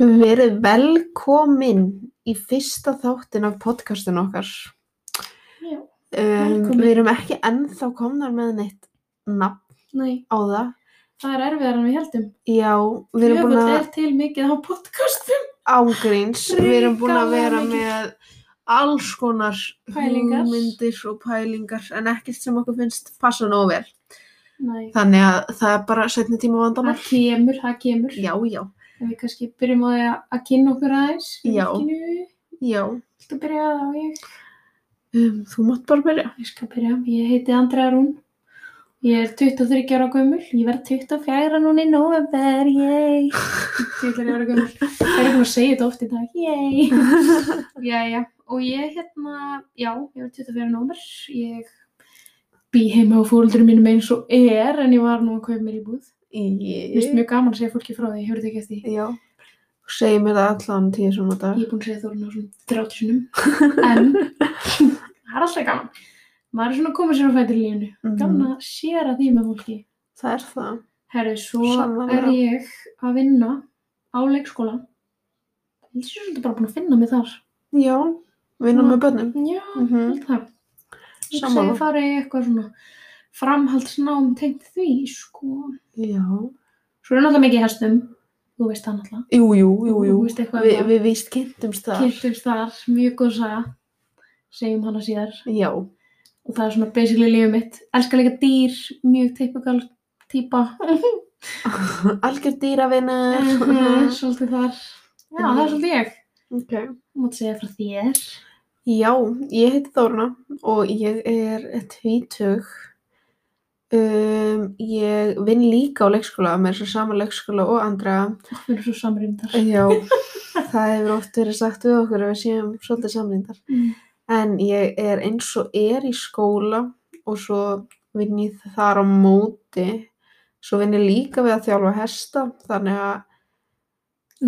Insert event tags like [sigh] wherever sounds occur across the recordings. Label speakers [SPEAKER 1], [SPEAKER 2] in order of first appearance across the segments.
[SPEAKER 1] Verið velkomin í fyrsta þáttinn af podcastinu okkar.
[SPEAKER 2] Já,
[SPEAKER 1] Um,
[SPEAKER 2] Velkomin.
[SPEAKER 1] við erum ekki ennþá komnar með neitt nafn
[SPEAKER 2] nei,
[SPEAKER 1] á það.
[SPEAKER 2] það er erfiðar en við heldum.
[SPEAKER 1] Já, við erum búin
[SPEAKER 2] Jöfull
[SPEAKER 1] að
[SPEAKER 2] er til mikið á podcastum.
[SPEAKER 1] ángríns, við erum búin að
[SPEAKER 2] Hrikalega
[SPEAKER 1] vera
[SPEAKER 2] mikið.
[SPEAKER 1] með alls konar
[SPEAKER 2] Pælingar.
[SPEAKER 1] hugmyndir og pælingar en ekkert sem okkur finnst passa nóg vel.
[SPEAKER 2] Nei,
[SPEAKER 1] Þannig að það er bara setni tíma vandamál.
[SPEAKER 2] það kemur, það kemur.
[SPEAKER 1] Já, já,
[SPEAKER 2] En við kannski byrjum á því að að kynna okkur aðeins.
[SPEAKER 1] Já.
[SPEAKER 2] Kynnu,
[SPEAKER 1] já.
[SPEAKER 2] viltu byrja á ég?
[SPEAKER 1] Um, þú mátt bara byrja.
[SPEAKER 2] Ég skal byrja, ég heiti Andrea Rún. Ég er 23 ára gömul, ég verð 24 núna í november, yey. 24 ára gömul, það er búin að segja þetta oft í dag, yey. Jæja, og ég hérna, já, ég var 24 nómur, ég bý heima á fóröldurum mínum eins og er, en ég var nú að kaupa mér í búð. Mér finnst
[SPEAKER 1] Í...
[SPEAKER 2] mjög gaman að segja fólki frá því, hefur þetta ekki eftir því.
[SPEAKER 1] Já. Segir mér það allan tíu svona á dag.
[SPEAKER 2] Ég er búin að segja þórun á svona 30 sinum, en [laughs] það er alltaf gaman. Maður er svona að koma sér á fætur í lífinu, gaman að séra því með fólki.
[SPEAKER 1] Það er það.
[SPEAKER 2] Herru, svo
[SPEAKER 1] Sannarlega.
[SPEAKER 2] er ég að vinna á leikskóla. Ég sé svolítið bara búin að finna mig þar. Mm.
[SPEAKER 1] Já, vinna
[SPEAKER 2] Svona-
[SPEAKER 1] með börnum.
[SPEAKER 2] Já,
[SPEAKER 1] Mhm.
[SPEAKER 2] held það. Ég
[SPEAKER 1] Sammála.
[SPEAKER 2] segi farið í eitthvað svona framhaldsnám tengt því, sko.
[SPEAKER 1] Já.
[SPEAKER 2] Svo er náttúrulega mikið í hestum, þú veist það náttúrulega.
[SPEAKER 1] Jú, jú, jú, jú.
[SPEAKER 2] Þú veist eitthvað
[SPEAKER 1] Vi,
[SPEAKER 2] um það.
[SPEAKER 1] við víst kynntumst þar.
[SPEAKER 2] Kynntumst þar, mjög góð saga, segjum hana síðar.
[SPEAKER 1] Já.
[SPEAKER 2] Og það er svona basically lífið mitt. Elskar líka dýr, mjög typical típa.
[SPEAKER 1] [laughs] Algjör dýravinnar.
[SPEAKER 2] Mhm, svolítið þar. Já, það er svolítið ég.
[SPEAKER 1] [laughs] ok.
[SPEAKER 2] Þú mátt segja frá þér.
[SPEAKER 1] Já, ég heiti Þórna og ég er tvítug. Um, ég vinn líka á leikskóla, með þess að sama leikskóla og andra.
[SPEAKER 2] Við erum svo samrýndar.
[SPEAKER 1] Já, það hefur oft verið sagt við okkur að við séum svolítið samlindar.
[SPEAKER 2] Mm.
[SPEAKER 1] En ég er eins og er í skóla og svo vinn ég þar á móti. Svo vinn ég líka við að þjálfa hesta, þannig að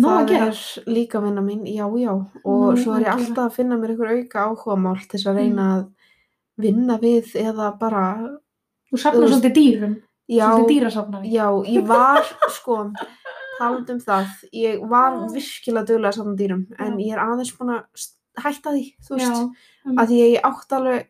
[SPEAKER 2] Nó að
[SPEAKER 1] það
[SPEAKER 2] gera.
[SPEAKER 1] er líka vinna mín, já, já. Og
[SPEAKER 2] Nóg
[SPEAKER 1] svo er ég
[SPEAKER 2] að gera. Mm.
[SPEAKER 1] alltaf að finna mér einhver auka áhugamál til þess að reyna að vinna við eða bara,
[SPEAKER 2] Þú
[SPEAKER 1] Þú
[SPEAKER 2] safnar
[SPEAKER 1] veist-
[SPEAKER 2] svolítið dýrum.
[SPEAKER 1] já,
[SPEAKER 2] Svolítið dýrasafnari.
[SPEAKER 1] já, ég var, sko, talandi um það, ég var virkilega duglega saman dýrum, en
[SPEAKER 2] Já.
[SPEAKER 1] ég er aðeins búin að st- hætta því, þú
[SPEAKER 2] Já,
[SPEAKER 1] veist, að því að ég átt alveg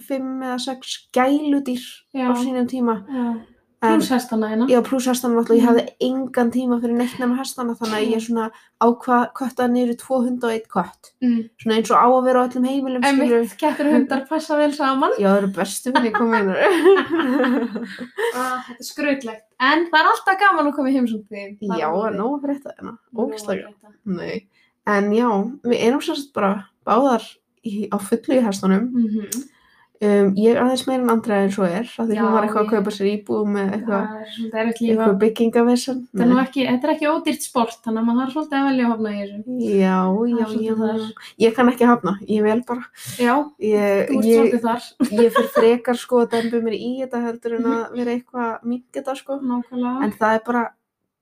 [SPEAKER 1] fimm eða sex gæludýr á
[SPEAKER 2] já,
[SPEAKER 1] sínum tíma,
[SPEAKER 2] já.
[SPEAKER 1] en
[SPEAKER 2] Plús hestana hérna.
[SPEAKER 1] Já, pluss hestana náttúrulega, ég
[SPEAKER 2] Mhm.
[SPEAKER 1] hafði engan tíma fyrir neitt nema hestana þannig að ég svona ákvað kötta niður í 201 kött.
[SPEAKER 2] Mm.
[SPEAKER 1] Svona eins og á að vera á öllum heimilum, skilur
[SPEAKER 2] Emmitt, kettur og hundar passa vel saman.
[SPEAKER 1] Já, það eru bestu fyrir kominu.
[SPEAKER 2] [laughs] Ah, þetta er skröðlegt. En það er alltaf gaman að koma í heimsum þig.
[SPEAKER 1] já,
[SPEAKER 2] nóg.
[SPEAKER 1] nóg fyrir þetta hérna. Ógislega. Nei. En já, við erum sérst bara báðar í, á fullu í hestunum. Um, ég aðeins meira en Andrea eins og er, af því
[SPEAKER 2] Já,
[SPEAKER 1] hún var eitthvað að
[SPEAKER 2] ég-
[SPEAKER 1] kaupa sér íbúð með Mhm. eitthvað,
[SPEAKER 2] Það er svolítið erfitt líf að...
[SPEAKER 1] eitthvað byggingavissan.
[SPEAKER 2] Þetta er, nú ekki, þetta er ekki ódýrt sport, þannig að maður þarf svolítið að velja að hafna í þessu.
[SPEAKER 1] Já, já,
[SPEAKER 2] svolítið
[SPEAKER 1] já,
[SPEAKER 2] þar.
[SPEAKER 1] ég kann ekki hafna, ég vel bara.
[SPEAKER 2] Já,
[SPEAKER 1] Ég,
[SPEAKER 2] þú ert
[SPEAKER 1] ég,
[SPEAKER 2] svolítið þar.
[SPEAKER 1] ég fyrir frekar sko að dembu mér í þetta heldur en
[SPEAKER 2] Mhm.
[SPEAKER 1] að vera eitthvað að minga þetta sko.
[SPEAKER 2] Nákvæmlega.
[SPEAKER 1] En það er bara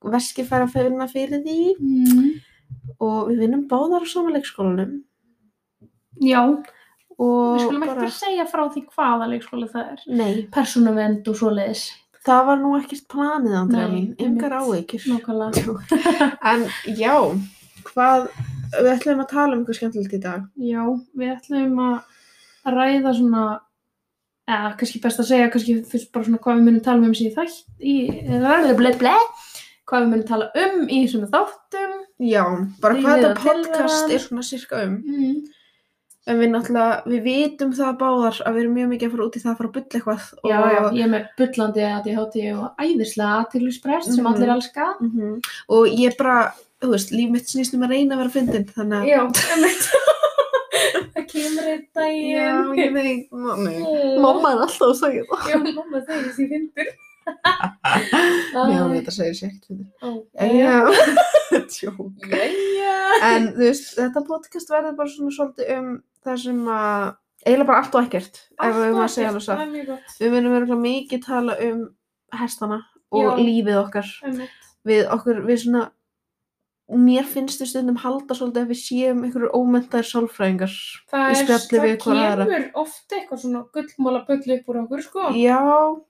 [SPEAKER 1] veskið fær að finna fyrir því
[SPEAKER 2] Mm.
[SPEAKER 1] og við vinnum báðar á sama leikskólanum.
[SPEAKER 2] Já,
[SPEAKER 1] Og
[SPEAKER 2] við skulum
[SPEAKER 1] bara,
[SPEAKER 2] ekkert segja frá því hvaða leikskóla það er.
[SPEAKER 1] Nei,
[SPEAKER 2] Persónuvend og svoleiðis.
[SPEAKER 1] það var nú ekkert planið, Andrea
[SPEAKER 2] Nei,
[SPEAKER 1] mín. Engar áeikjur.
[SPEAKER 2] Nákvæmlega.
[SPEAKER 1] En já, hvað, við ætlum að tala um eitthvað skemmtilegt í dag.
[SPEAKER 2] Já, við ætlum að ræða svona, eða kannski best að segja, kannski fyrst bara svona hvað við munum tala um í þætt, í, blablabla, hvað við munum tala um í svona þáttum.
[SPEAKER 1] Já, bara
[SPEAKER 2] Lífið
[SPEAKER 1] hvað
[SPEAKER 2] og
[SPEAKER 1] þetta podcast
[SPEAKER 2] tilveran.
[SPEAKER 1] er svona sirka um.
[SPEAKER 2] Mm.
[SPEAKER 1] En við náttúrulega, við vitum það báðar að við erum mjög mikið að fara út í það að fara að bylla eitthvað.
[SPEAKER 2] Já, já,
[SPEAKER 1] og-
[SPEAKER 2] ég er með bullandi ADHD og æðislega aðtilvísprest sem
[SPEAKER 1] Mhm.
[SPEAKER 2] allir elska.
[SPEAKER 1] Mhm. og ég bara, þú veist, líf mitt snýst um að reyna að vera fyndin, þannig að
[SPEAKER 2] Já, einmitt. [laughs] það kemur einn daginn.
[SPEAKER 1] ég veit, mamma,
[SPEAKER 2] Eh,
[SPEAKER 1] er alltaf að segja það.
[SPEAKER 2] Já, mamma segir þessi [laughs] fyndur.
[SPEAKER 1] Já, þetta segir sér ekkert fyndin.
[SPEAKER 2] Jæja.
[SPEAKER 1] Já, [laughs] tjók.
[SPEAKER 2] Jæja.
[SPEAKER 1] En þú veist, þetta podcast verður bara svona svolítið um það sem að, eiginlega bara allt og ekkert, ef við maður segja alveg
[SPEAKER 2] það.
[SPEAKER 1] svo.
[SPEAKER 2] er mjög gott.
[SPEAKER 1] Við verðum verið mikið tala um hestana og
[SPEAKER 2] Já.
[SPEAKER 1] lífið okkar.
[SPEAKER 2] Einmitt.
[SPEAKER 1] Við okkur, við svona mér finnst við stundum halda svolítið að við séum einhverjur ómentaðir sálfræðingar
[SPEAKER 2] það,
[SPEAKER 1] Í
[SPEAKER 2] er,
[SPEAKER 1] spjalli
[SPEAKER 2] það
[SPEAKER 1] við hvor aðra.
[SPEAKER 2] kemur oft eitthvað svona gullmála bull upp úr okkur sko
[SPEAKER 1] já,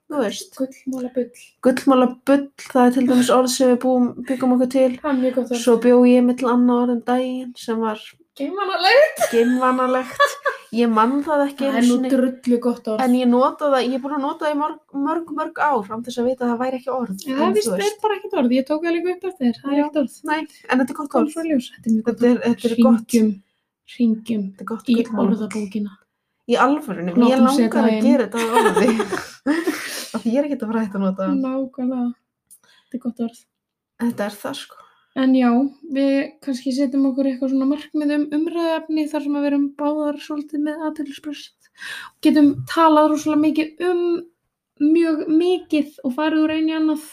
[SPEAKER 1] þú veist
[SPEAKER 2] gullmála bull,
[SPEAKER 1] gullmála bull, það er til dæmis orð sem við búum, byggum okkur til
[SPEAKER 2] það er mjög gott orð
[SPEAKER 1] svo bjó ég mitt annað orð um daginn sem var
[SPEAKER 2] geimanalegt,
[SPEAKER 1] geimvanalegt ég mann það ekki
[SPEAKER 2] það
[SPEAKER 1] einu
[SPEAKER 2] er nú
[SPEAKER 1] sinni.
[SPEAKER 2] drullu gott orð
[SPEAKER 1] en ég nota það, ég er búin að nota það í mörg, mörg, mörg ár án þess að vita að það væri ekki orð
[SPEAKER 2] Já, það
[SPEAKER 1] en,
[SPEAKER 2] víst
[SPEAKER 1] þú
[SPEAKER 2] er
[SPEAKER 1] veist,
[SPEAKER 2] bara ekkert orð, ég tók það líka upp eftir, þér, það er
[SPEAKER 1] Já.
[SPEAKER 2] ekkert orð.
[SPEAKER 1] nei, en þetta er gott
[SPEAKER 2] Kom
[SPEAKER 1] orð
[SPEAKER 2] frá ljós, þetta er mjög gott
[SPEAKER 1] þetta er, þetta er gott
[SPEAKER 2] Ringjum, ringjum
[SPEAKER 1] þetta er gott
[SPEAKER 2] í
[SPEAKER 1] gullmál.
[SPEAKER 2] orðabókina.
[SPEAKER 1] í alvörunni, ég
[SPEAKER 2] Látum setja
[SPEAKER 1] langar að
[SPEAKER 2] það inn.
[SPEAKER 1] gera þetta að orði
[SPEAKER 2] [laughs]
[SPEAKER 1] af því ég er ekki að fara að hætta að nota það.
[SPEAKER 2] Nákvæmlega, þetta er gott orð.
[SPEAKER 1] þetta er það sko
[SPEAKER 2] En já, við kannski setjum okkur eitthvað svona markmið um umræðafni þar sem að við erum báðar svolítið með aðtölusbröst. Getum talað rosalega mikið um mjög mikið og farið úr einu í annað.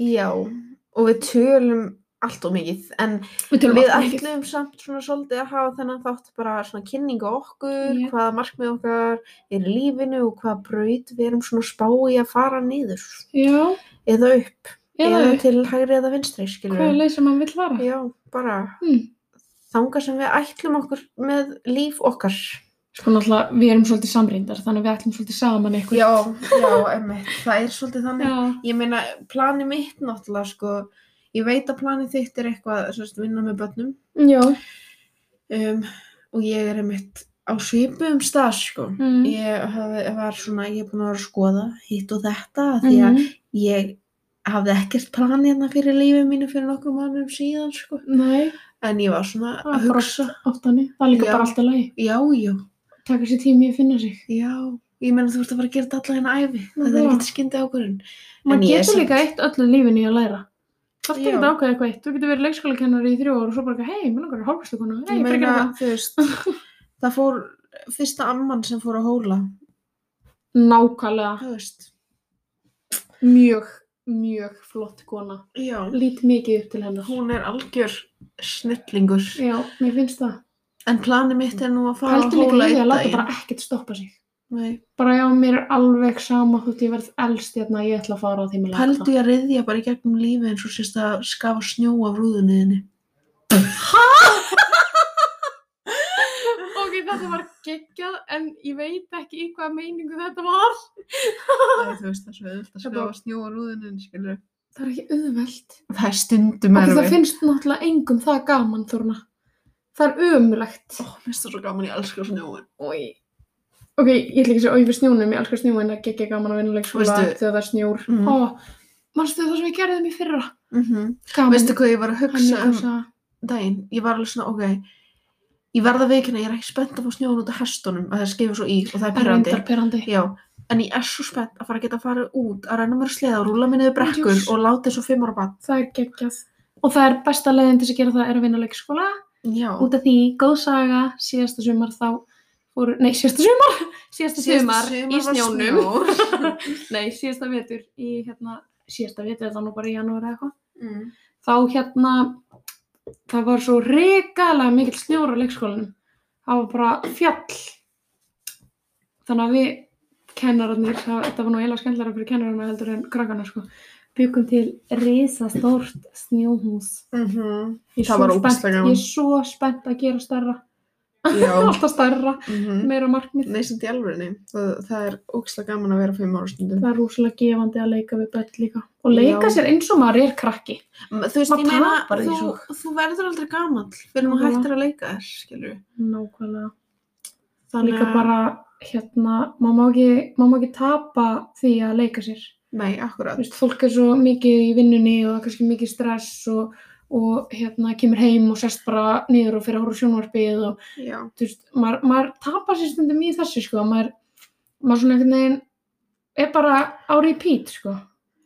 [SPEAKER 1] já, og við tölum allt og mikið, en
[SPEAKER 2] Við tölum
[SPEAKER 1] við
[SPEAKER 2] alltaf mikið.
[SPEAKER 1] ætlum samt svona svolítið að hafa þennan þátt bara svona kynningu á okkur,
[SPEAKER 2] Já.
[SPEAKER 1] hvaða markmið okkar er í lífinu og hvaða braut við erum svona að spá í að fara niður
[SPEAKER 2] Já,
[SPEAKER 1] eða upp,
[SPEAKER 2] eða
[SPEAKER 1] til hægri eða vinstri, skilur
[SPEAKER 2] hvaða leið sem hann vill fara.
[SPEAKER 1] Já, bara
[SPEAKER 2] Hmm.
[SPEAKER 1] þanga sem við ætlum okkur með líf okkar.
[SPEAKER 2] Sko náttúrulega, við erum svolítið samrýndar, þannig að við ætlum svolítið saman eitthvað.
[SPEAKER 1] Já, já, emmitt, það er svolítið þannig.
[SPEAKER 2] Já,
[SPEAKER 1] Ég meina, planið mitt náttúrulega, sko, ég veit að planið þitt er eitthvað, svo veist, vinna með börnum
[SPEAKER 2] já.
[SPEAKER 1] um, og ég er einmitt á svipum stað sko.
[SPEAKER 2] Mm.
[SPEAKER 1] Ég hafði, var svona, ég er búin að vera að skoða hitt og þetta af því að
[SPEAKER 2] Mhm.
[SPEAKER 1] ég hafði ekkert plan hérna fyrir lífið mínu fyrir nokkur mannum síðan sko.
[SPEAKER 2] Mm. Nei,
[SPEAKER 1] En ég var svona
[SPEAKER 2] Það
[SPEAKER 1] að
[SPEAKER 2] er bara
[SPEAKER 1] hugsa,
[SPEAKER 2] áttani. Það er líka
[SPEAKER 1] Já.
[SPEAKER 2] bara alltaf lagi.
[SPEAKER 1] já, já,
[SPEAKER 2] Taka sér tími að finna sig.
[SPEAKER 1] já, ég meina þú ert að fara að gera þetta alla hérna æfi, það er
[SPEAKER 2] Já.
[SPEAKER 1] ekkert skyndi ákvörðun.
[SPEAKER 2] Man
[SPEAKER 1] En ég er
[SPEAKER 2] getur
[SPEAKER 1] samt-
[SPEAKER 2] líka eitt öllu lífinu í að læra. Það er
[SPEAKER 1] Já.
[SPEAKER 2] ekkert að ákveða eitthvað eitt. Þú getur verið leikskólakennari í þrjú ár og svo bara eitthvað, hei, mér langar að hálfkvæmstakonu. Hei,
[SPEAKER 1] Ég
[SPEAKER 2] fyrir ekki
[SPEAKER 1] meina,
[SPEAKER 2] það.
[SPEAKER 1] þú veist, það fór fyrsta amman sem fór að hóla,
[SPEAKER 2] Nákvæmlega.
[SPEAKER 1] þú veist,
[SPEAKER 2] Mjög, mjög flott kona.
[SPEAKER 1] já,
[SPEAKER 2] Lít mikið upp til hennar.
[SPEAKER 1] hún er algjör snillingur.
[SPEAKER 2] Já, mér finnst það.
[SPEAKER 1] En planið mitt er nú að fara
[SPEAKER 2] Pældu
[SPEAKER 1] að
[SPEAKER 2] líka
[SPEAKER 1] hóla
[SPEAKER 2] í því
[SPEAKER 1] einn
[SPEAKER 2] að láta
[SPEAKER 1] daginn.
[SPEAKER 2] bara ekkert stoppa sig.
[SPEAKER 1] Nei,
[SPEAKER 2] Bara já, mér er alveg sama þótt ég verð elst hérna, ég ætla að fara á því mér langar.
[SPEAKER 1] pældu ég að riðja bara í gegnum lífi eins og sérst að skafa snjó af rúðunniðinni.
[SPEAKER 2] Ok, þetta var geggjað, en ég veit ekki í hvaða meiningu þetta var.
[SPEAKER 1] Nei, þú veist [laughs] það svo auðvitað að
[SPEAKER 2] skafa
[SPEAKER 1] snjó af rúðunniðinni, skilur.
[SPEAKER 2] Það er ekki auðvelt.
[SPEAKER 1] Það er stundum
[SPEAKER 2] Af því það
[SPEAKER 1] erfið.
[SPEAKER 2] finnst náttúrulega engum það gaman þorna. Það er ömulegt.
[SPEAKER 1] Ó, mér finnst það svo gaman, ég elska snjóin.
[SPEAKER 2] Ói. Ok, ég ætla ekki að segja ói fyrir snjónum, ég elskar snjó en það er ekki gaman að vinna leikskóla
[SPEAKER 1] Veistu-
[SPEAKER 2] þegar það er snjór.
[SPEAKER 1] Mm.
[SPEAKER 2] Ó, manstu það sem ég gerði þeim í fyrra?
[SPEAKER 1] Mm -hmm.
[SPEAKER 2] Gaman.
[SPEAKER 1] Veistu hvað ég var að
[SPEAKER 2] hann
[SPEAKER 1] hugsa
[SPEAKER 2] er
[SPEAKER 1] um
[SPEAKER 2] þessa...
[SPEAKER 1] daginn? Ég var alveg svona, ok, ég verða veikina, ég er ekki spennt að fá snjóin út af hestunum, að það skefur svo í og það er
[SPEAKER 2] Það er
[SPEAKER 1] pyrrandi.
[SPEAKER 2] reyndar perandi.
[SPEAKER 1] Já, en ég er svo spennt að fara að geta að fara út, að reyna mér að sleða og rúla minni yfir brekkun
[SPEAKER 2] Jú.
[SPEAKER 1] og láta eins og fimm ára bann.
[SPEAKER 2] Það er geggjað. Og það er besta leiðin til þess að gera það er að vinna leikskóla.
[SPEAKER 1] Já,
[SPEAKER 2] Út af því, góð saga, síðasta sumar þá fór... Nei, síðasta sumar! [laughs] Síðasta sumar, í snjónum. [laughs] Nei, síðasta vetur í hérna... Síðasta vetur, þetta var nú bara í janúar eða eitthvað.
[SPEAKER 1] Mm.
[SPEAKER 2] þá hérna það var svo regalega mikill snjór á leikskólanum það var bara fjall þannig að við kennararnir, það- þetta var nú eiginlega skemmtilega fyrir kennararna heldur en krakkana sko byggum til risastórt snjóhús
[SPEAKER 1] Mm
[SPEAKER 2] ég er,
[SPEAKER 1] Það
[SPEAKER 2] svo
[SPEAKER 1] var ógeðslega
[SPEAKER 2] spennt,
[SPEAKER 1] gaman.
[SPEAKER 2] ég er svo spennt að gera stærra
[SPEAKER 1] [laughs] Já,
[SPEAKER 2] alltaf stærra,
[SPEAKER 1] mhm.
[SPEAKER 2] meira markmið
[SPEAKER 1] Nei, sem til alvörinni. Það, það er ógislega gaman að vera fimm ára stundum.
[SPEAKER 2] það er rúslega gefandi að leika við börn líka og leika
[SPEAKER 1] Já.
[SPEAKER 2] sér eins og maður er krakki
[SPEAKER 1] Þú veist,
[SPEAKER 2] Maður
[SPEAKER 1] ég meina,
[SPEAKER 2] tapar því
[SPEAKER 1] þú, þú verður aldrei gamall fyrir nú
[SPEAKER 2] Nákvæmlega.
[SPEAKER 1] hættir að leika þér, skilur.
[SPEAKER 2] nákvæmlega Líka bara, hérna, má má ekki, má má ekki tapa því að leika sér.
[SPEAKER 1] Nei,
[SPEAKER 2] Þú
[SPEAKER 1] akkurat.
[SPEAKER 2] Veist, fólk er svo mikið í vinnunni og það er kannski mikið stress og, og hérna, kemur heim og sest bara niður og fyrir að horfa á sjónvarpið og,
[SPEAKER 1] Já.
[SPEAKER 2] þú veist, maður, maður tapar sér stundum í þessu, sko, maður, maður svona einhvern veginn er bara á repeat, sko.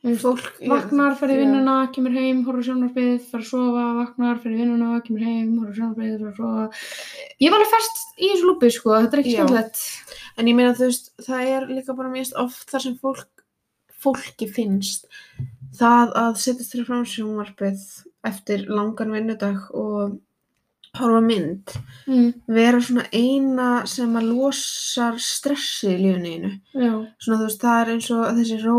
[SPEAKER 2] Þú veist,
[SPEAKER 1] Fólk...
[SPEAKER 2] Vaknar, fer í
[SPEAKER 1] Já.
[SPEAKER 2] vinnuna, kemur heim, horfur sjónvarpið, fer að sofa, vaknar, fer í vinnuna, kemur heim, horfur sjónvarpið, fer að sofa. Ég var alveg fest í þessu lúpi, sko, þetta er ekki
[SPEAKER 1] Já.
[SPEAKER 2] skemmtilegt.
[SPEAKER 1] En ég meina, þú veist, það er líka bara mjög oft þar sem fólk, fólki finnst það að setjast þér fram sjónvarpið eftir langan vinnudag og horfa á mynd.
[SPEAKER 2] Mm,
[SPEAKER 1] Vera svona eina sem að losar stressi í lífinu einu.
[SPEAKER 2] já,
[SPEAKER 1] svona þú veist, það er eins og að þessi ró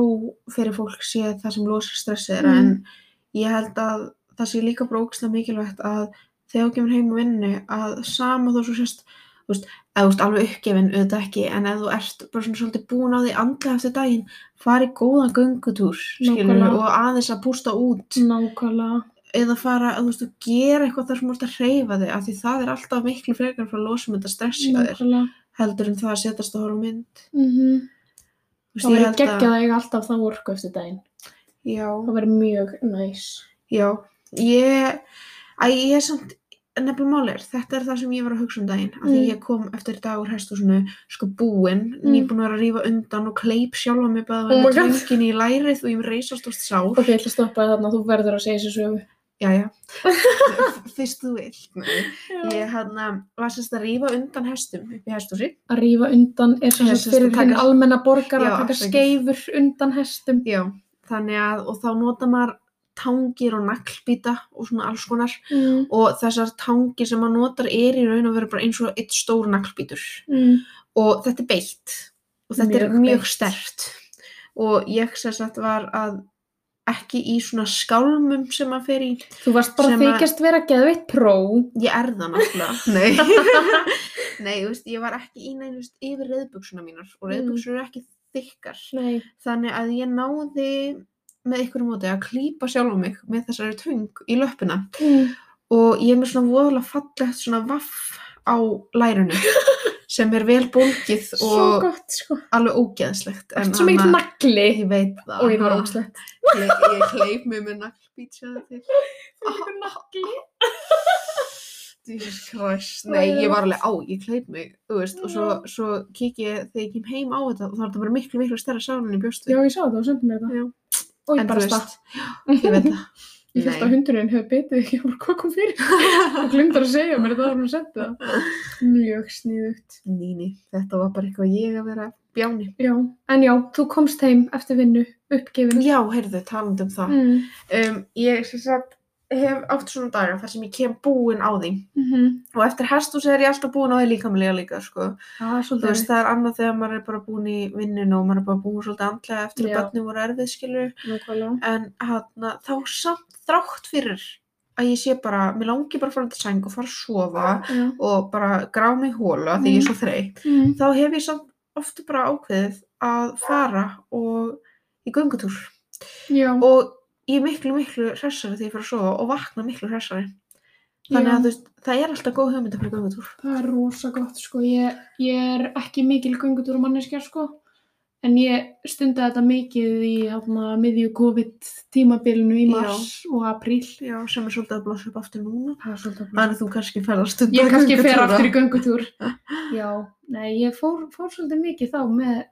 [SPEAKER 1] fyrir fólk sé það sem losar stressið þeirra
[SPEAKER 2] Mm.
[SPEAKER 1] en ég held að það sé líka bara ógislega mikilvægt að þegar þú kemur heim á vinnu að sama þó svo sérst þú veist, eða þú veist alveg uppgefin auðvitað ekki en ef þú ert bara svona svolítið búin á því andlega eftir daginn, fari góðan göngutúr skilur,
[SPEAKER 2] Nákvæmlega. Mm.
[SPEAKER 1] og aðeins að pústa út
[SPEAKER 2] nákvæmlega.
[SPEAKER 1] eða fara, þú veist, þú gera eitthvað þar sem þú ert að hreyfa þig, af því það er alltaf miklu frekar frá losum um þetta stressi að þér
[SPEAKER 2] Nákvæmlega.
[SPEAKER 1] heldur en það að setjast að horfa á mynd
[SPEAKER 2] Mm
[SPEAKER 1] Þú
[SPEAKER 2] Það verður
[SPEAKER 1] ég held
[SPEAKER 2] geggjað að eiga alltaf það orku eftir daginn.
[SPEAKER 1] já,
[SPEAKER 2] Það verður mjög næs.
[SPEAKER 1] já, ég að ég er samt, nefnilega mál er þetta er það sem ég var að hugsa um daginn af því
[SPEAKER 2] Mm.
[SPEAKER 1] ég kom eftir dag úr hestúsinu sko búinn,
[SPEAKER 2] Mm.
[SPEAKER 1] nýbúin að vera að rífa undan og kleip sjálfa mig
[SPEAKER 2] Oh
[SPEAKER 1] bara
[SPEAKER 2] my
[SPEAKER 1] með
[SPEAKER 2] God.
[SPEAKER 1] tvöngin í lærið og ég er reisast ást sár
[SPEAKER 2] Ok, ég ætla að stoppa þér þarna, þú verður að segja þessu sögu. [laughs]
[SPEAKER 1] Jæja, fyrst þú vilt Nei. Ég hann var sérst að rífa undan hestum upp í hestúsi
[SPEAKER 2] Að rífa undan er sem
[SPEAKER 1] Já,
[SPEAKER 2] sagt
[SPEAKER 1] sem sagt
[SPEAKER 2] fyrir
[SPEAKER 1] að
[SPEAKER 2] hinn
[SPEAKER 1] taka-
[SPEAKER 2] almenna borgar
[SPEAKER 1] Já,
[SPEAKER 2] að taka
[SPEAKER 1] afsakið.
[SPEAKER 2] skeifur undan hestum.
[SPEAKER 1] Já, þannig að, og þá nota maður tangir og naglbýta og svona alls konar
[SPEAKER 2] Mm.
[SPEAKER 1] og þessar tangir sem maður notar er í raun og vera bara eins og eitt stór naglbýtur
[SPEAKER 2] Mm.
[SPEAKER 1] og þetta er beitt og þetta
[SPEAKER 2] Mjög
[SPEAKER 1] er mjög
[SPEAKER 2] beitt.
[SPEAKER 1] sterkt og ég sem sagt var að ekki í svona skálmum sem maður fer í
[SPEAKER 2] Þú varst bara
[SPEAKER 1] Sem
[SPEAKER 2] að
[SPEAKER 1] að-
[SPEAKER 2] þykjast vera geðveitt pró.
[SPEAKER 1] ég er það
[SPEAKER 2] [laughs]
[SPEAKER 1] náttúrulega nei, [laughs] nei þú veist, ég var ekki í neinu þú veist, yfir reyðbuksuna mínar
[SPEAKER 2] Mm.
[SPEAKER 1] og reyðbuksur eru ekki þykkar
[SPEAKER 2] Nei.
[SPEAKER 1] þannig að ég náði með ykkur móti að klípa sjálf mig með þessari tung í löppina
[SPEAKER 2] Mm.
[SPEAKER 1] og ég er með svona voðalega fallegt svona vaff á
[SPEAKER 2] [laughs]
[SPEAKER 1] lærinu sem er vel bólgið
[SPEAKER 2] Svo
[SPEAKER 1] og
[SPEAKER 2] gott, sko.
[SPEAKER 1] alveg ógeðslegt
[SPEAKER 2] Það er svo mikið
[SPEAKER 1] hana-
[SPEAKER 2] nagli.
[SPEAKER 1] ég veit það
[SPEAKER 2] Og ég var
[SPEAKER 1] ha,
[SPEAKER 2] ógslegt.
[SPEAKER 1] ég, ég kleip mig með naglbít sjáðu til
[SPEAKER 2] nagli.
[SPEAKER 1] Jesus Christ,
[SPEAKER 2] Það
[SPEAKER 1] nei,
[SPEAKER 2] er
[SPEAKER 1] ég
[SPEAKER 2] rétt.
[SPEAKER 1] var alveg á, ég kleip mig, þú veist, og svo,
[SPEAKER 2] Já.
[SPEAKER 1] svo kík ég þegar ég kem heim á þetta og þá er þetta bara miklu, miklu stærra sálinn í bjóstu.
[SPEAKER 2] Já, ég sá það og söndi mér það.
[SPEAKER 1] Já.
[SPEAKER 2] Og ég
[SPEAKER 1] en
[SPEAKER 2] bara
[SPEAKER 1] þú
[SPEAKER 2] statt.
[SPEAKER 1] veist, ég veit það.
[SPEAKER 2] [laughs] Ég fyrst að
[SPEAKER 1] Nei.
[SPEAKER 2] hundurinn hefur betið ekki bara hvað kom fyrir.
[SPEAKER 1] [laughs]
[SPEAKER 2] Og glimtar að segja mér það að hún sendi það. Mjög sníðugt.
[SPEAKER 1] Níni, þetta var bara eitthvað ég að vera bjáni.
[SPEAKER 2] Já. En já, þú komst heim eftir vinnu, uppgefin.
[SPEAKER 1] Já, heyrðu, talandi um það.
[SPEAKER 2] Mm.
[SPEAKER 1] Um, ég, sem sagt, hef átt svona dagar þar sem ég kem búin á því
[SPEAKER 2] Mm -hmm.
[SPEAKER 1] og eftir hestúsi er ég alltaf búin á því líkamlega líka, sko.
[SPEAKER 2] Það er
[SPEAKER 1] Þú
[SPEAKER 2] svolítið.
[SPEAKER 1] veist, það er annað þegar maður er bara búin í vinninu og maður er bara búin svolítið andlega eftir
[SPEAKER 2] Já.
[SPEAKER 1] að börnum voru erfið, skilur.
[SPEAKER 2] Nákvæmlega.
[SPEAKER 1] en hana, þá samt þrátt fyrir að ég sé bara, mér langi bara að fara til sæng og fara að sofa
[SPEAKER 2] Já.
[SPEAKER 1] og bara grá mig í hóla því ég er svo þreytt
[SPEAKER 2] Mm.
[SPEAKER 1] þá hef ég samt ofta bara ákveðið að fara og í göngutúr
[SPEAKER 2] Já.
[SPEAKER 1] og ég er miklu miklu hressari því ég fyrir að sofa og vakna miklu hressari þannig
[SPEAKER 2] Já.
[SPEAKER 1] að þú veist, það er alltaf góð hugmynd að fara í göngutúr
[SPEAKER 2] Það er rosa gott, sko. Ég, ég er ekki mikil göngutúr manneskja, sko. En ég stundi þetta mikið í hafna, miðju COVID-tímabilinu í
[SPEAKER 1] Já.
[SPEAKER 2] mars og apríl.
[SPEAKER 1] Já, sem er svolítið að blossa upp aftur núna
[SPEAKER 2] Það er svolítið
[SPEAKER 1] þannig að þú kannski ferðast um
[SPEAKER 2] Ég kannski fer aftur í göngutúr.
[SPEAKER 1] [laughs]
[SPEAKER 2] Já, nei, ég fór, fór svolítið mikið þá með,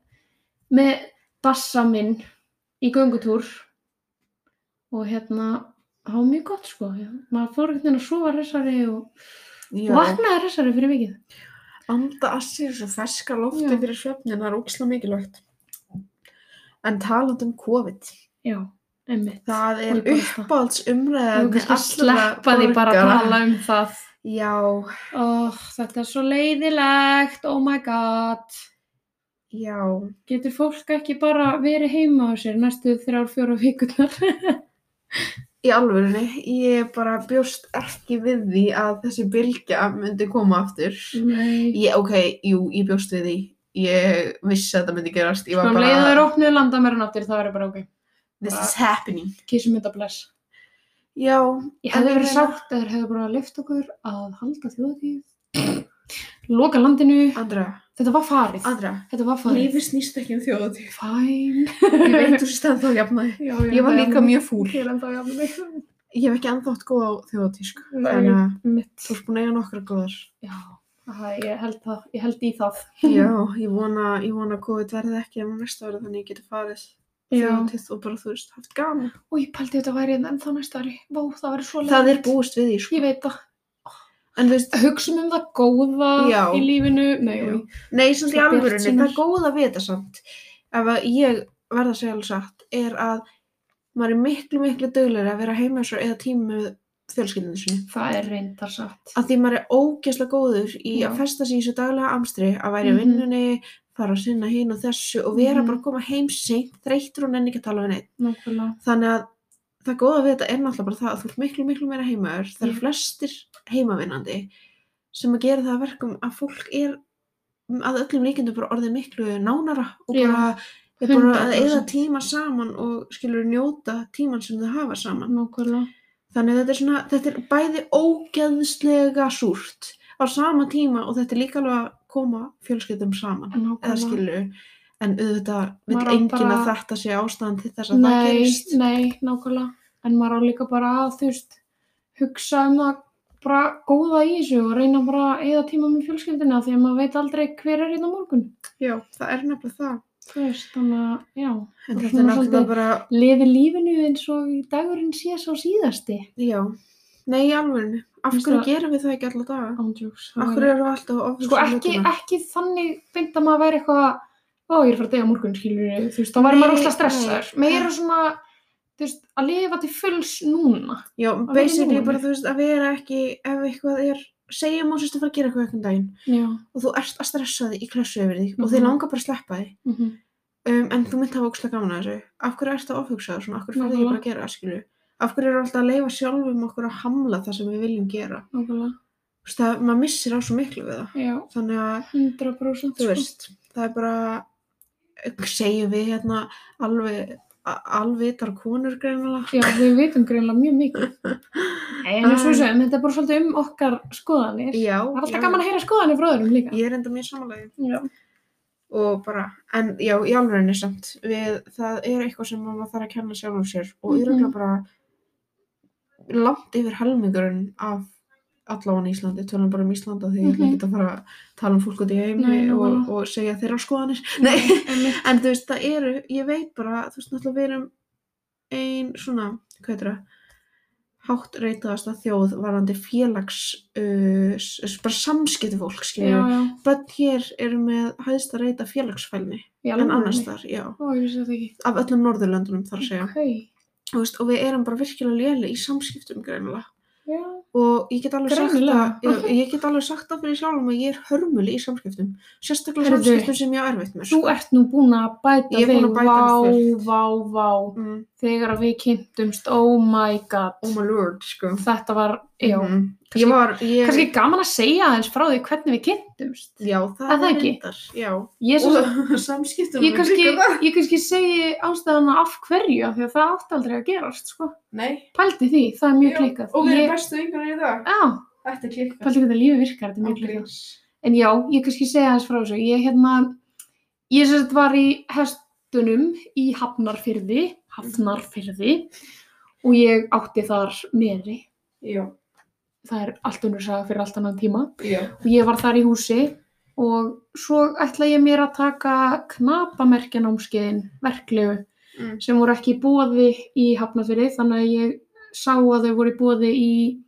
[SPEAKER 2] með bassa minn í göngutúr og hérna, það var mjög gott, sko. Já. Maður fór einhvern veginn að sofa hressari og, og
[SPEAKER 1] Já,
[SPEAKER 2] vaknaði hressari fyrir mikið.
[SPEAKER 1] anda að sér svo ferska lofti
[SPEAKER 2] Já.
[SPEAKER 1] fyrir svefnin, það er ógislega mikilvægt. En taland um COVID,
[SPEAKER 2] Já, einmitt.
[SPEAKER 1] það
[SPEAKER 2] Og
[SPEAKER 1] er
[SPEAKER 2] ég bara stað.
[SPEAKER 1] uppáhalds
[SPEAKER 2] Þú
[SPEAKER 1] umræðan
[SPEAKER 2] kannski sleppa því bara að tala um það.
[SPEAKER 1] Já,
[SPEAKER 2] Oh, þetta er svo leiðilegt, oh my god.
[SPEAKER 1] já,
[SPEAKER 2] Getur fólk ekki bara verið heima á sér næstu þrjár, fjóra vikunar?
[SPEAKER 1] í alvörunni, ég bara bjóst ekki við því að þessi bylgja myndi koma aftur.
[SPEAKER 2] Mm. Nei.
[SPEAKER 1] Ég, ok, jú, ég bjóst við því, ég vissi að þetta myndi gerast, ég
[SPEAKER 2] Sko,
[SPEAKER 1] var
[SPEAKER 2] um leiðu þær
[SPEAKER 1] bara,
[SPEAKER 2] opnuðu landamæra náttir, það verður bara ok.
[SPEAKER 1] this is happening.
[SPEAKER 2] Kísum þetta bless.
[SPEAKER 1] Já,
[SPEAKER 2] Ég
[SPEAKER 1] En
[SPEAKER 2] hefði
[SPEAKER 1] ég
[SPEAKER 2] verið
[SPEAKER 1] meina-
[SPEAKER 2] sátt að þeir hefðu bara lift okkur að halda þjóðatíð. Loka landinu.
[SPEAKER 1] Andra,
[SPEAKER 2] Þetta var farið.
[SPEAKER 1] Andra,
[SPEAKER 2] Þetta var farið.
[SPEAKER 1] lífi snýst ekki um þjóðatíð.
[SPEAKER 2] Fæn.
[SPEAKER 1] [laughs] Ég
[SPEAKER 2] [laughs]
[SPEAKER 1] veit þú sést ennþá jafnaði.
[SPEAKER 2] Já,
[SPEAKER 1] Ég var líka mjög fúl.
[SPEAKER 2] Ég er enda að jafna mig.
[SPEAKER 1] Ég hef ekki ennþátt góð á þjóðatísku.
[SPEAKER 2] Nei.
[SPEAKER 1] Þannig að
[SPEAKER 2] Mitt.
[SPEAKER 1] þú ert búin að eiga nokkra góðar.
[SPEAKER 2] Já, það, ég held það, ég held í það.
[SPEAKER 1] [laughs] Já, ég vona, ég vona að COVID verði ekki á næsta ári þannig að ég geti farið þjóðatíð og bara þú veist haft gaman.
[SPEAKER 2] Og ég pældi þetta væri en þá næsta ári. Vá, það væri svo
[SPEAKER 1] Það er
[SPEAKER 2] leiðinlegt.
[SPEAKER 1] búist við því, sko.
[SPEAKER 2] Ég veit það.
[SPEAKER 1] En þú veist,
[SPEAKER 2] Hugsum um það góða
[SPEAKER 1] Já.
[SPEAKER 2] í lífinu. Nei,
[SPEAKER 1] Já.
[SPEAKER 2] jú.
[SPEAKER 1] nei, samt í
[SPEAKER 2] Svo
[SPEAKER 1] alvörunni,
[SPEAKER 2] bjartsýnar.
[SPEAKER 1] það er góð að vita samt. Ef að ég verð að segja alveg satt, er að maður er miklu, miklu döglegri að vera heima svo eða tíma með fjölskyldinu sinni.
[SPEAKER 2] það er reyndar satt.
[SPEAKER 1] að því maður er ógeðslega góður í
[SPEAKER 2] Já.
[SPEAKER 1] að festa sig í þessu daglega amstri að væri mm
[SPEAKER 2] Mhm.
[SPEAKER 1] vinnunni, fara að sinna hinn og þessu og vera
[SPEAKER 2] Mhm.
[SPEAKER 1] bara að koma heim seint þreyttur og nenni ekki að tala við neitt
[SPEAKER 2] Nákvæmlega.
[SPEAKER 1] þannig að það góða við þetta er náttúrulega bara það að þú ert miklu, miklu meira heimaður. Það eru
[SPEAKER 2] Já.
[SPEAKER 1] flestir heimavinnandi sem að gera það að verkum að fólk er að öllum líkindum bara orðið miklu nánara og
[SPEAKER 2] Já,
[SPEAKER 1] bara er bara að
[SPEAKER 2] 100%.
[SPEAKER 1] eða tíma saman og skilur njóta tíman sem þau hafa saman.
[SPEAKER 2] Nákvæmlega.
[SPEAKER 1] Þannig að þetta er svona, þetta er bæði ógeðslega súrt á sama tíma og þetta er líka alveg að koma fjölskyldum saman eða
[SPEAKER 2] Nákvæmlega.
[SPEAKER 1] skilur en auðvitað vil
[SPEAKER 2] Maður á
[SPEAKER 1] enginn
[SPEAKER 2] bara-
[SPEAKER 1] að þetta sé ástæðan til þess að það
[SPEAKER 2] Nei,
[SPEAKER 1] gerist
[SPEAKER 2] nei, nákvæmlega. En maður á líka bara að, þú veist, hugsa um það bara góða í þessu og reyna bara að eða tíma með fjölskyldina því að maður veit aldrei hver er hérna á morgun.
[SPEAKER 1] já, það er nefnilega það
[SPEAKER 2] Þú veist, þannig að, já,
[SPEAKER 1] en
[SPEAKER 2] Og
[SPEAKER 1] þetta er
[SPEAKER 2] svona
[SPEAKER 1] náttúrulega
[SPEAKER 2] svolítið-
[SPEAKER 1] bara,
[SPEAKER 2] lifi lífinu eins og í dagurinn sé sá síðasti.
[SPEAKER 1] já nei, í alvörinu, af
[SPEAKER 2] Finnst
[SPEAKER 1] hverju
[SPEAKER 2] það-
[SPEAKER 1] gerum við það ekki alla daga?
[SPEAKER 2] Ándjúks.
[SPEAKER 1] af hverju erum við alltaf að ofursa
[SPEAKER 2] Sko ekki,
[SPEAKER 1] hlutina?
[SPEAKER 2] ekki þannig beint að maður væri eitthvað að, ó, ég er að fara að degja morgun, skilur ég, þú veist, þá væri
[SPEAKER 1] Nei,
[SPEAKER 2] maður óslega
[SPEAKER 1] nei.
[SPEAKER 2] stressaður. Meira svona, þú veist, að lifa til fulls núna.
[SPEAKER 1] já,
[SPEAKER 2] vera í
[SPEAKER 1] basically
[SPEAKER 2] núinu.
[SPEAKER 1] bara þú veist að vera ekki ef eitthvað er, segjum og sérst að fara að gera eitthvað eitthvað daginn
[SPEAKER 2] Já.
[SPEAKER 1] og þú ert að stressa þig í klassu yfir þig og þið
[SPEAKER 2] Mhm.
[SPEAKER 1] langar bara að sleppa þig
[SPEAKER 2] Mm -hmm.
[SPEAKER 1] um, en þú myndi hafa ógslag gaman að þessu af hverju ertu að ofhugsa það svona, af hverju fyrir ekki
[SPEAKER 2] Nákvæmlega.
[SPEAKER 1] bara að gera það skilju af hverju eru alltaf að leifa sjálfum okkur að hamla það sem við viljum gera Þú veist, það, maður missir á svo miklu við það
[SPEAKER 2] Já,
[SPEAKER 1] þannig að,
[SPEAKER 2] 100%
[SPEAKER 1] þú
[SPEAKER 2] sko.
[SPEAKER 1] veist, það er bara segjum við hérna alveg a- alvitar konur greinilega
[SPEAKER 2] Já, við vitum greinlega mjög
[SPEAKER 1] [laughs]
[SPEAKER 2] mikið. Nei, en eins og sem, þetta er bara svolítið um okkar skoðanir.
[SPEAKER 1] já,
[SPEAKER 2] Það er alltaf
[SPEAKER 1] já.
[SPEAKER 2] gaman að heyra skoðanir frá öðrum líka.
[SPEAKER 1] ég er enda mjög samanlega
[SPEAKER 2] Já.
[SPEAKER 1] og bara, en já, í alvegni samt við, það er eitthvað sem maður þarf að kenna sjálfum sér og
[SPEAKER 2] Mhm.
[SPEAKER 1] yfirlega bara langt yfir helmingurinn af allavega Íslandi, tölum bara um Íslanda því ég ætla
[SPEAKER 2] Mhm.
[SPEAKER 1] ekki að fara að tala um fólk út í heimi
[SPEAKER 2] Nei,
[SPEAKER 1] og,
[SPEAKER 2] nákvæmlega. Mhm.
[SPEAKER 1] og segja þeirra skoðanir nei,
[SPEAKER 2] einmitt.
[SPEAKER 1] En þú veist, það eru, ég veit bara, þú veist, náttúrulega við erum ein svona, hvað heitir það, hátt reytaðasta þjóð varandi félags, uh, s- s- bara samskipti fólk,
[SPEAKER 2] Já,
[SPEAKER 1] skiljum.
[SPEAKER 2] já.
[SPEAKER 1] Bönn hér eru með hæðst að reyta félagsfælni
[SPEAKER 2] Já,
[SPEAKER 1] en annars
[SPEAKER 2] það.
[SPEAKER 1] þar, já,
[SPEAKER 2] Ó, ég vissi þetta ekki.
[SPEAKER 1] af öllum Norðurlöndunum þar að segja.
[SPEAKER 2] Ok.
[SPEAKER 1] Þú veist, og við erum bara virkilega léli í samskiptum greinilega.
[SPEAKER 2] Já.
[SPEAKER 1] Og ég get alveg sagt
[SPEAKER 2] Greinilega.
[SPEAKER 1] að, ég, ég get alveg sagt að fyrir sjálfum að ég er hörmuli í samskiptum. Sérstaklega
[SPEAKER 2] Heyrðu.
[SPEAKER 1] samskiptum sem ég á erfitt með. sko.
[SPEAKER 2] Þú ert nú búin að bæta
[SPEAKER 1] Ég er búin að bæta
[SPEAKER 2] vá,
[SPEAKER 1] fullt.
[SPEAKER 2] vá, vá,
[SPEAKER 1] Mm,
[SPEAKER 2] þegar að við kynntumst, oh my god,
[SPEAKER 1] oh my lord, sko.
[SPEAKER 2] þetta var, já,
[SPEAKER 1] Mhm. Ég var, ég...
[SPEAKER 2] kannski gaman að segja aðeins frá því hvernig við kynntumst.
[SPEAKER 1] Já, það
[SPEAKER 2] Er það
[SPEAKER 1] er
[SPEAKER 2] ekki?
[SPEAKER 1] reyndar. Já.
[SPEAKER 2] Ég er svo
[SPEAKER 1] Og [laughs] samskiptum
[SPEAKER 2] ég kannski, ég kannski segi ástæðana af hverju af því að það átti aldrei að gerast sko.
[SPEAKER 1] Nei.
[SPEAKER 2] pældi því, það er mjög
[SPEAKER 1] Já,
[SPEAKER 2] klikkað
[SPEAKER 1] Og við erum
[SPEAKER 2] Ég-
[SPEAKER 1] bestu yngur í dag.
[SPEAKER 2] já,
[SPEAKER 1] Þetta er klikkað.
[SPEAKER 2] pældi hvernig lífið virkar, þetta er mjög klikkað en já, ég kannski segi aðeins frá þessu ég hérna, ég sem sagt var í hestunum í Hafnarfyrði Hafnarfyrði og ég átti þar meðri
[SPEAKER 1] Já,
[SPEAKER 2] það er allt unnur saga fyrir allt annan tíma
[SPEAKER 1] já.
[SPEAKER 2] og ég var þar í húsi og svo ætla ég mér að taka knapamerkjanámskeiðin verklegu
[SPEAKER 1] Mm.
[SPEAKER 2] sem voru ekki í bóði í Hafnarfyrði þannig að ég sá að þau voru í bóði í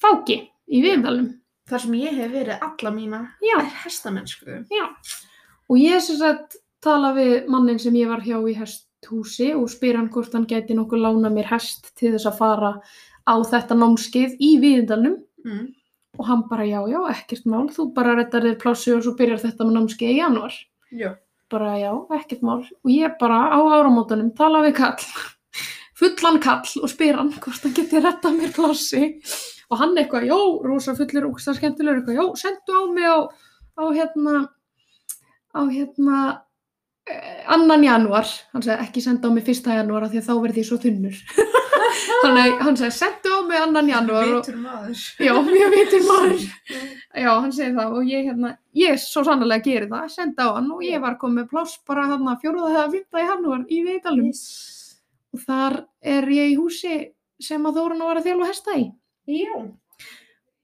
[SPEAKER 2] Fáki, í Viðalum.
[SPEAKER 1] Þar sem ég hef verið alla mína
[SPEAKER 2] Já,
[SPEAKER 1] er hestamennsku.
[SPEAKER 2] og ég sem sagt tala við mannin sem ég var hjá í hesthúsi og spyr hann hvort hann gæti nokkuð lána mér hest til þess að fara á þetta námskeið í Viðalum
[SPEAKER 1] Mm.
[SPEAKER 2] og hann bara já, já, ekkert mál, þú bara rettar þér plássi og svo byrjar þetta með námskeið í janúar.
[SPEAKER 1] Já.
[SPEAKER 2] bara já, ekkert mál og ég bara á áramótunum tala við kall [laughs] fullan kall og spyr hann hvort hann geti rettað mér plássi og hann eitthvað, já, rosa fullur og skemmtilegur eitthvað, já, sendu á mig á, á hérna á hérna eh, annan janúar, hann sagði ekki senda á mig fyrsta janúar af því að þá verði ég svo þunnur [laughs] þannig að hann sagði sendu á mig annan janúar og,
[SPEAKER 1] Vitur maður.
[SPEAKER 2] já, mjög vitur maður Já, hann segir það og ég, hérna, ég svo sannlega gerir það, senda á hann og ég var komið pláss bara hann að fjóruða þegar fymta í hannúar í Veitalum. Og þar er ég í húsi sem að Þórun var að þjálfa hesta í.
[SPEAKER 1] Já,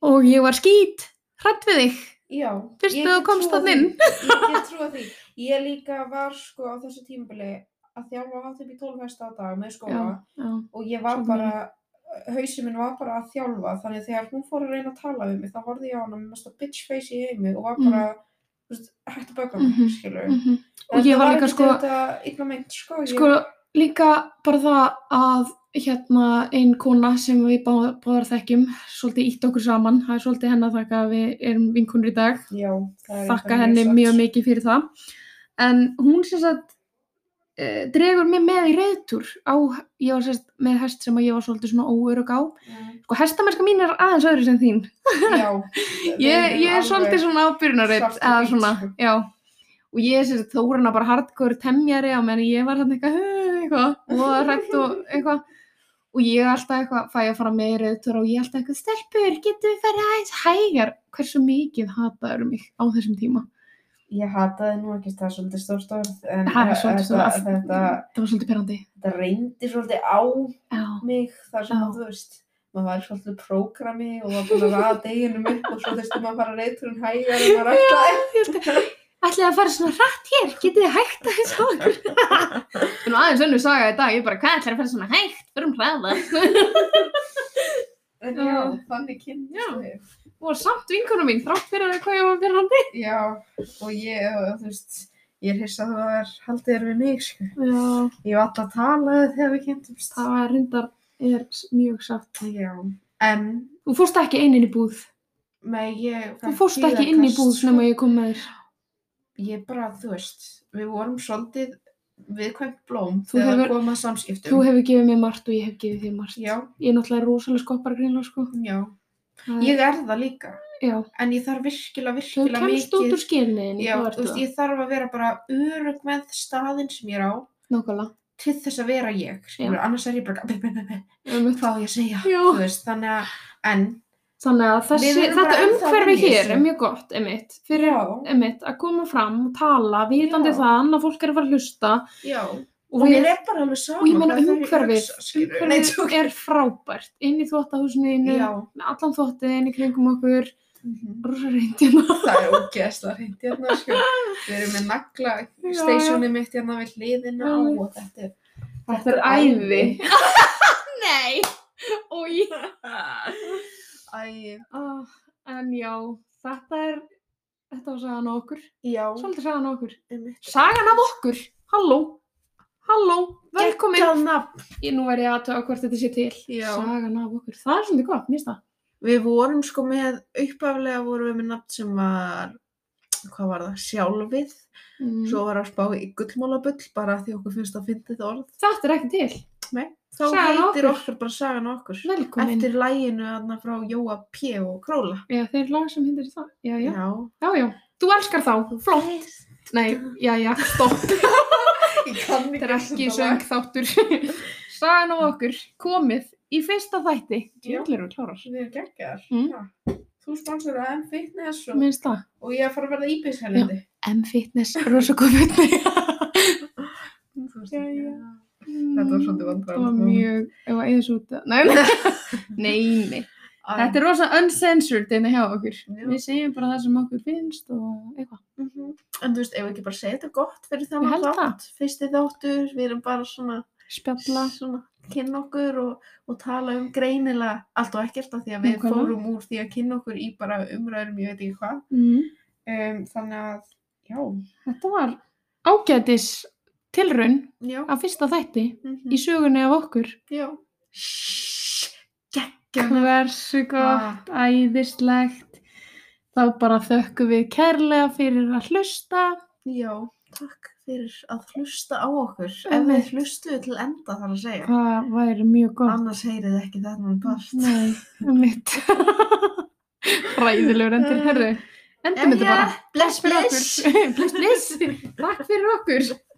[SPEAKER 2] Og ég var skýt, hrætt við þig.
[SPEAKER 1] já.
[SPEAKER 2] Fyrst
[SPEAKER 1] Ég
[SPEAKER 2] þegar þú
[SPEAKER 1] get
[SPEAKER 2] komst
[SPEAKER 1] trúað
[SPEAKER 2] þarna inn.
[SPEAKER 1] því. Ég get trúa því. Ég líka var sko á þessu tímabili að þjálfa hátt upp í 12 hesta á dag með skóla.
[SPEAKER 2] Já,
[SPEAKER 1] og ég var
[SPEAKER 2] Svo
[SPEAKER 1] bara, hausinn minn var bara að þjálfa þannig þegar hún fór að reyna að tala við mig þá horfði ég á hana með mesta bitch face í heimi og var
[SPEAKER 2] Mm.
[SPEAKER 1] bara, þú veist, hægt að böka mig,
[SPEAKER 2] Mhm,
[SPEAKER 1] skilur
[SPEAKER 2] mhm. og ég var líka sko,
[SPEAKER 1] Þetta illa meint, sko, ég,
[SPEAKER 2] sko, líka bara það að hérna ein kona sem við bá- báðar þekkjum, svolítið ítt okkur saman, það er svolítið henn að þakka að við erum vinkunir í dag.
[SPEAKER 1] já, það er
[SPEAKER 2] þakka henni mjög mikið fyrir það en hún sem sagt uh, dregur mig með í reyðtúr á, ég var sérst með hest sem að ég var svolítið svona óörug á sko hestamennska mín er aðeins öðru sem þín [laughs]
[SPEAKER 1] Já.
[SPEAKER 2] ég, ég er svolítið svona ábyrjunarreitt
[SPEAKER 1] svart og
[SPEAKER 2] eða
[SPEAKER 1] hvítt,
[SPEAKER 2] svona,
[SPEAKER 1] sko.
[SPEAKER 2] já og ég er sérst þórana bara hardcore temjari á meðan ég var hann eitthvað "Huh," eitthvað og hrætt og eitthvað og ég er alltaf eitthvað, fæ ég að fara með í reyðtúr og ég er alltaf eitthvað, stelpur, getur við farið aðeins hægar, hversu mikið hataður mig á þessum tíma
[SPEAKER 1] Ég hataði nú ekki, það er svolítið stórt orð en
[SPEAKER 2] Það er svolítið svona
[SPEAKER 1] þetta, þetta,
[SPEAKER 2] Það var svolítið perandi.
[SPEAKER 1] þetta reyndi svolítið á
[SPEAKER 2] Já.
[SPEAKER 1] mig þar sem
[SPEAKER 2] Já.
[SPEAKER 1] að þú veist maður var í svolítið prógrami og var búin að raða deginum upp og svo þurfti maður að fara reyturinn hægar en maður ætlaði
[SPEAKER 2] Ætlið að fara svona hratt hér, getið þið hægt aðeins á okkur. Það er nú aðeins önnur saga í dag, ég bara, hvað ætlar að fara svona hægt, förum hraða.
[SPEAKER 1] en já,
[SPEAKER 2] Já.
[SPEAKER 1] þannig kynnist
[SPEAKER 2] Já.
[SPEAKER 1] þau
[SPEAKER 2] [laughs] og samt vinkona mín, þrátt fyrir að hvað ég var perandi.
[SPEAKER 1] já, og ég, og þú veist ég er hissa að það er haldið er við mig sko.
[SPEAKER 2] Já,
[SPEAKER 1] ég var alltaf að tala þegar við kynntumst
[SPEAKER 2] það var reyndar, er mjög satt.
[SPEAKER 1] já, en
[SPEAKER 2] Þú fórst ekki einin í búð.
[SPEAKER 1] með ég
[SPEAKER 2] Þú
[SPEAKER 1] fékk
[SPEAKER 2] fórst ekki inn í
[SPEAKER 1] tíðakast,
[SPEAKER 2] búð
[SPEAKER 1] sko.
[SPEAKER 2] nema ég kom með þér.
[SPEAKER 1] ég bara, þú veist, við vorum svolítið viðkvæmt blóm
[SPEAKER 2] Þú
[SPEAKER 1] þegar
[SPEAKER 2] hefur-
[SPEAKER 1] hefur... koma
[SPEAKER 2] Þú
[SPEAKER 1] samskiptum
[SPEAKER 2] hefur gefið mér margt og ég hef gefið þér margt.
[SPEAKER 1] já,
[SPEAKER 2] Ég er náttúrulega rosalega skoppar greinlega, sko.
[SPEAKER 1] já,
[SPEAKER 2] Það-
[SPEAKER 1] ég er það líka
[SPEAKER 2] Já,
[SPEAKER 1] en ég þarf virkilega,
[SPEAKER 2] þú
[SPEAKER 1] virkilega
[SPEAKER 2] kemst út úr skilniðin.
[SPEAKER 1] já, þú veist, ég þarf að vera bara örug með staðinn sem ég er á
[SPEAKER 2] Nákvæmlega.
[SPEAKER 1] til þess að vera ég, skilur, annars er ég bara hvað
[SPEAKER 2] Einmitt.
[SPEAKER 1] á ég að segja
[SPEAKER 2] Já.
[SPEAKER 1] þú veist, þannig að, en
[SPEAKER 2] Þannig að þessi,
[SPEAKER 1] Við erum bara
[SPEAKER 2] þetta
[SPEAKER 1] ennþá að
[SPEAKER 2] umhverfi
[SPEAKER 1] vinna í
[SPEAKER 2] hér er
[SPEAKER 1] þessu.
[SPEAKER 2] mjög gott, einmitt, fyrir
[SPEAKER 1] já,
[SPEAKER 2] einmitt, að koma fram og tala, vitandi
[SPEAKER 1] Já.
[SPEAKER 2] það, annað fólk er að fara að hlusta
[SPEAKER 1] já
[SPEAKER 2] og,
[SPEAKER 1] og
[SPEAKER 2] við,
[SPEAKER 1] mér er bara alveg sama
[SPEAKER 2] og ég meina
[SPEAKER 1] hvað þau
[SPEAKER 2] umhverfið,
[SPEAKER 1] hugsa, skilurðu. Nei,
[SPEAKER 2] umhverfið
[SPEAKER 1] tjók.
[SPEAKER 2] er frábært, inn í þvottahúsinu, með
[SPEAKER 1] já,
[SPEAKER 2] allan þvottin í kringum okkur,
[SPEAKER 1] mhm.
[SPEAKER 2] rosa reyndina,
[SPEAKER 1] það er ógeðsla hreint hérna sko. við erum með nagla
[SPEAKER 2] Já,
[SPEAKER 1] stationið mitt hérna við hliðina á
[SPEAKER 2] Já.
[SPEAKER 1] og þetta er
[SPEAKER 2] þetta er æði, [laughs] nei, og ég, [laughs]
[SPEAKER 1] æði
[SPEAKER 2] ah, en já, þetta er, þetta var sagan á okkur,
[SPEAKER 1] já,
[SPEAKER 2] svolítið sagan á okkur,
[SPEAKER 1] einmitt.
[SPEAKER 2] sagan af okkur, halló, halló, velkomin.
[SPEAKER 1] Geggjað nafn.
[SPEAKER 2] Ég nú væri aðtöða hvort þetta sé til.
[SPEAKER 1] Já.
[SPEAKER 2] Sagan af okkur. Það er svolítið gott, mér finnst það.
[SPEAKER 1] við vorum sko með uppaflega vorum við með nafn sem var hvað var það, sjálfið
[SPEAKER 2] Mm.
[SPEAKER 1] svo var að spá í gullmálabull bara því okkur finnst að fyndi það orð
[SPEAKER 2] Þetta er ekki til.
[SPEAKER 1] þá
[SPEAKER 2] Sagan
[SPEAKER 1] heitir
[SPEAKER 2] okkur.
[SPEAKER 1] okkur bara sagan okkur
[SPEAKER 2] Velkomin.
[SPEAKER 1] eftir læginu aðna frá Jóa P. og Króla
[SPEAKER 2] Já, þeir eru lag sem hindir það. Já, já.
[SPEAKER 1] já,
[SPEAKER 2] Já, já. Þú elskar þá. Flott. Nei, já, já. Stopp.
[SPEAKER 1] [laughs] ég kann
[SPEAKER 2] Þetta er ekki söng þáttur. [laughs] Sagan af okkur. Komið í fyrsta þætti.
[SPEAKER 1] Já.
[SPEAKER 2] Júlir og klárar.
[SPEAKER 1] við erum geggjar
[SPEAKER 2] Mm.
[SPEAKER 1] þú sponsor að M-Fitness og,
[SPEAKER 2] Mér finnst það.
[SPEAKER 1] og ég er að fara að verða íbíshelindi
[SPEAKER 2] M-fitness. Rosa komið. [laughs]
[SPEAKER 1] þetta
[SPEAKER 2] Já, já.
[SPEAKER 1] Þetta var svolítið vandræðalegt
[SPEAKER 2] Það var
[SPEAKER 1] núna.
[SPEAKER 2] mjög, ef að eða svo út. Nei,
[SPEAKER 1] [laughs]
[SPEAKER 2] nei. nei, nei. Þetta er rosa uncensored einnig hjá okkur.
[SPEAKER 1] Já.
[SPEAKER 2] Við segjum bara það sem okkur finnst og eitthvað.
[SPEAKER 1] Mhm. En þú veist, ef við ekki bara segja þetta gott fyrir
[SPEAKER 2] Ég
[SPEAKER 1] þannig
[SPEAKER 2] held
[SPEAKER 1] þátt, fyrsti þáttur, við erum bara svona,
[SPEAKER 2] Spjalla.
[SPEAKER 1] svona kynna okkur og, og tala um greinilega allt og ekkert af því að við
[SPEAKER 2] Nákvæmlega.
[SPEAKER 1] fórum úr því að kynna okkur í bara umræðum, ég veit ekki hvað.
[SPEAKER 2] Mm.
[SPEAKER 1] Um, þannig að, já,
[SPEAKER 2] Þetta var ágætis tilraun
[SPEAKER 1] já,
[SPEAKER 2] af fyrsta þætti
[SPEAKER 1] mhm,
[SPEAKER 2] í sögunni af okkur.
[SPEAKER 1] já. Gekkjum.
[SPEAKER 2] Hversu gott,
[SPEAKER 1] Ah.
[SPEAKER 2] æðislegt. Þá bara þökkum við kærlega fyrir að hlusta.
[SPEAKER 1] Já, takk fyrir að hlusta á okkur. Ef við
[SPEAKER 2] Einmitt.
[SPEAKER 1] hlustuðu til enda þarf að segja.
[SPEAKER 2] Það væri mjög gott.
[SPEAKER 1] Annars heyrið þið ekki þennan part.
[SPEAKER 2] Nei, um [laughs] mitt. Ræðilegur endur, herru. Endum
[SPEAKER 1] Jæja,
[SPEAKER 2] þetta bara.
[SPEAKER 1] bless,
[SPEAKER 2] [laughs] Takk fyrir okkur. Bless, bless. Takk fyrir okkur.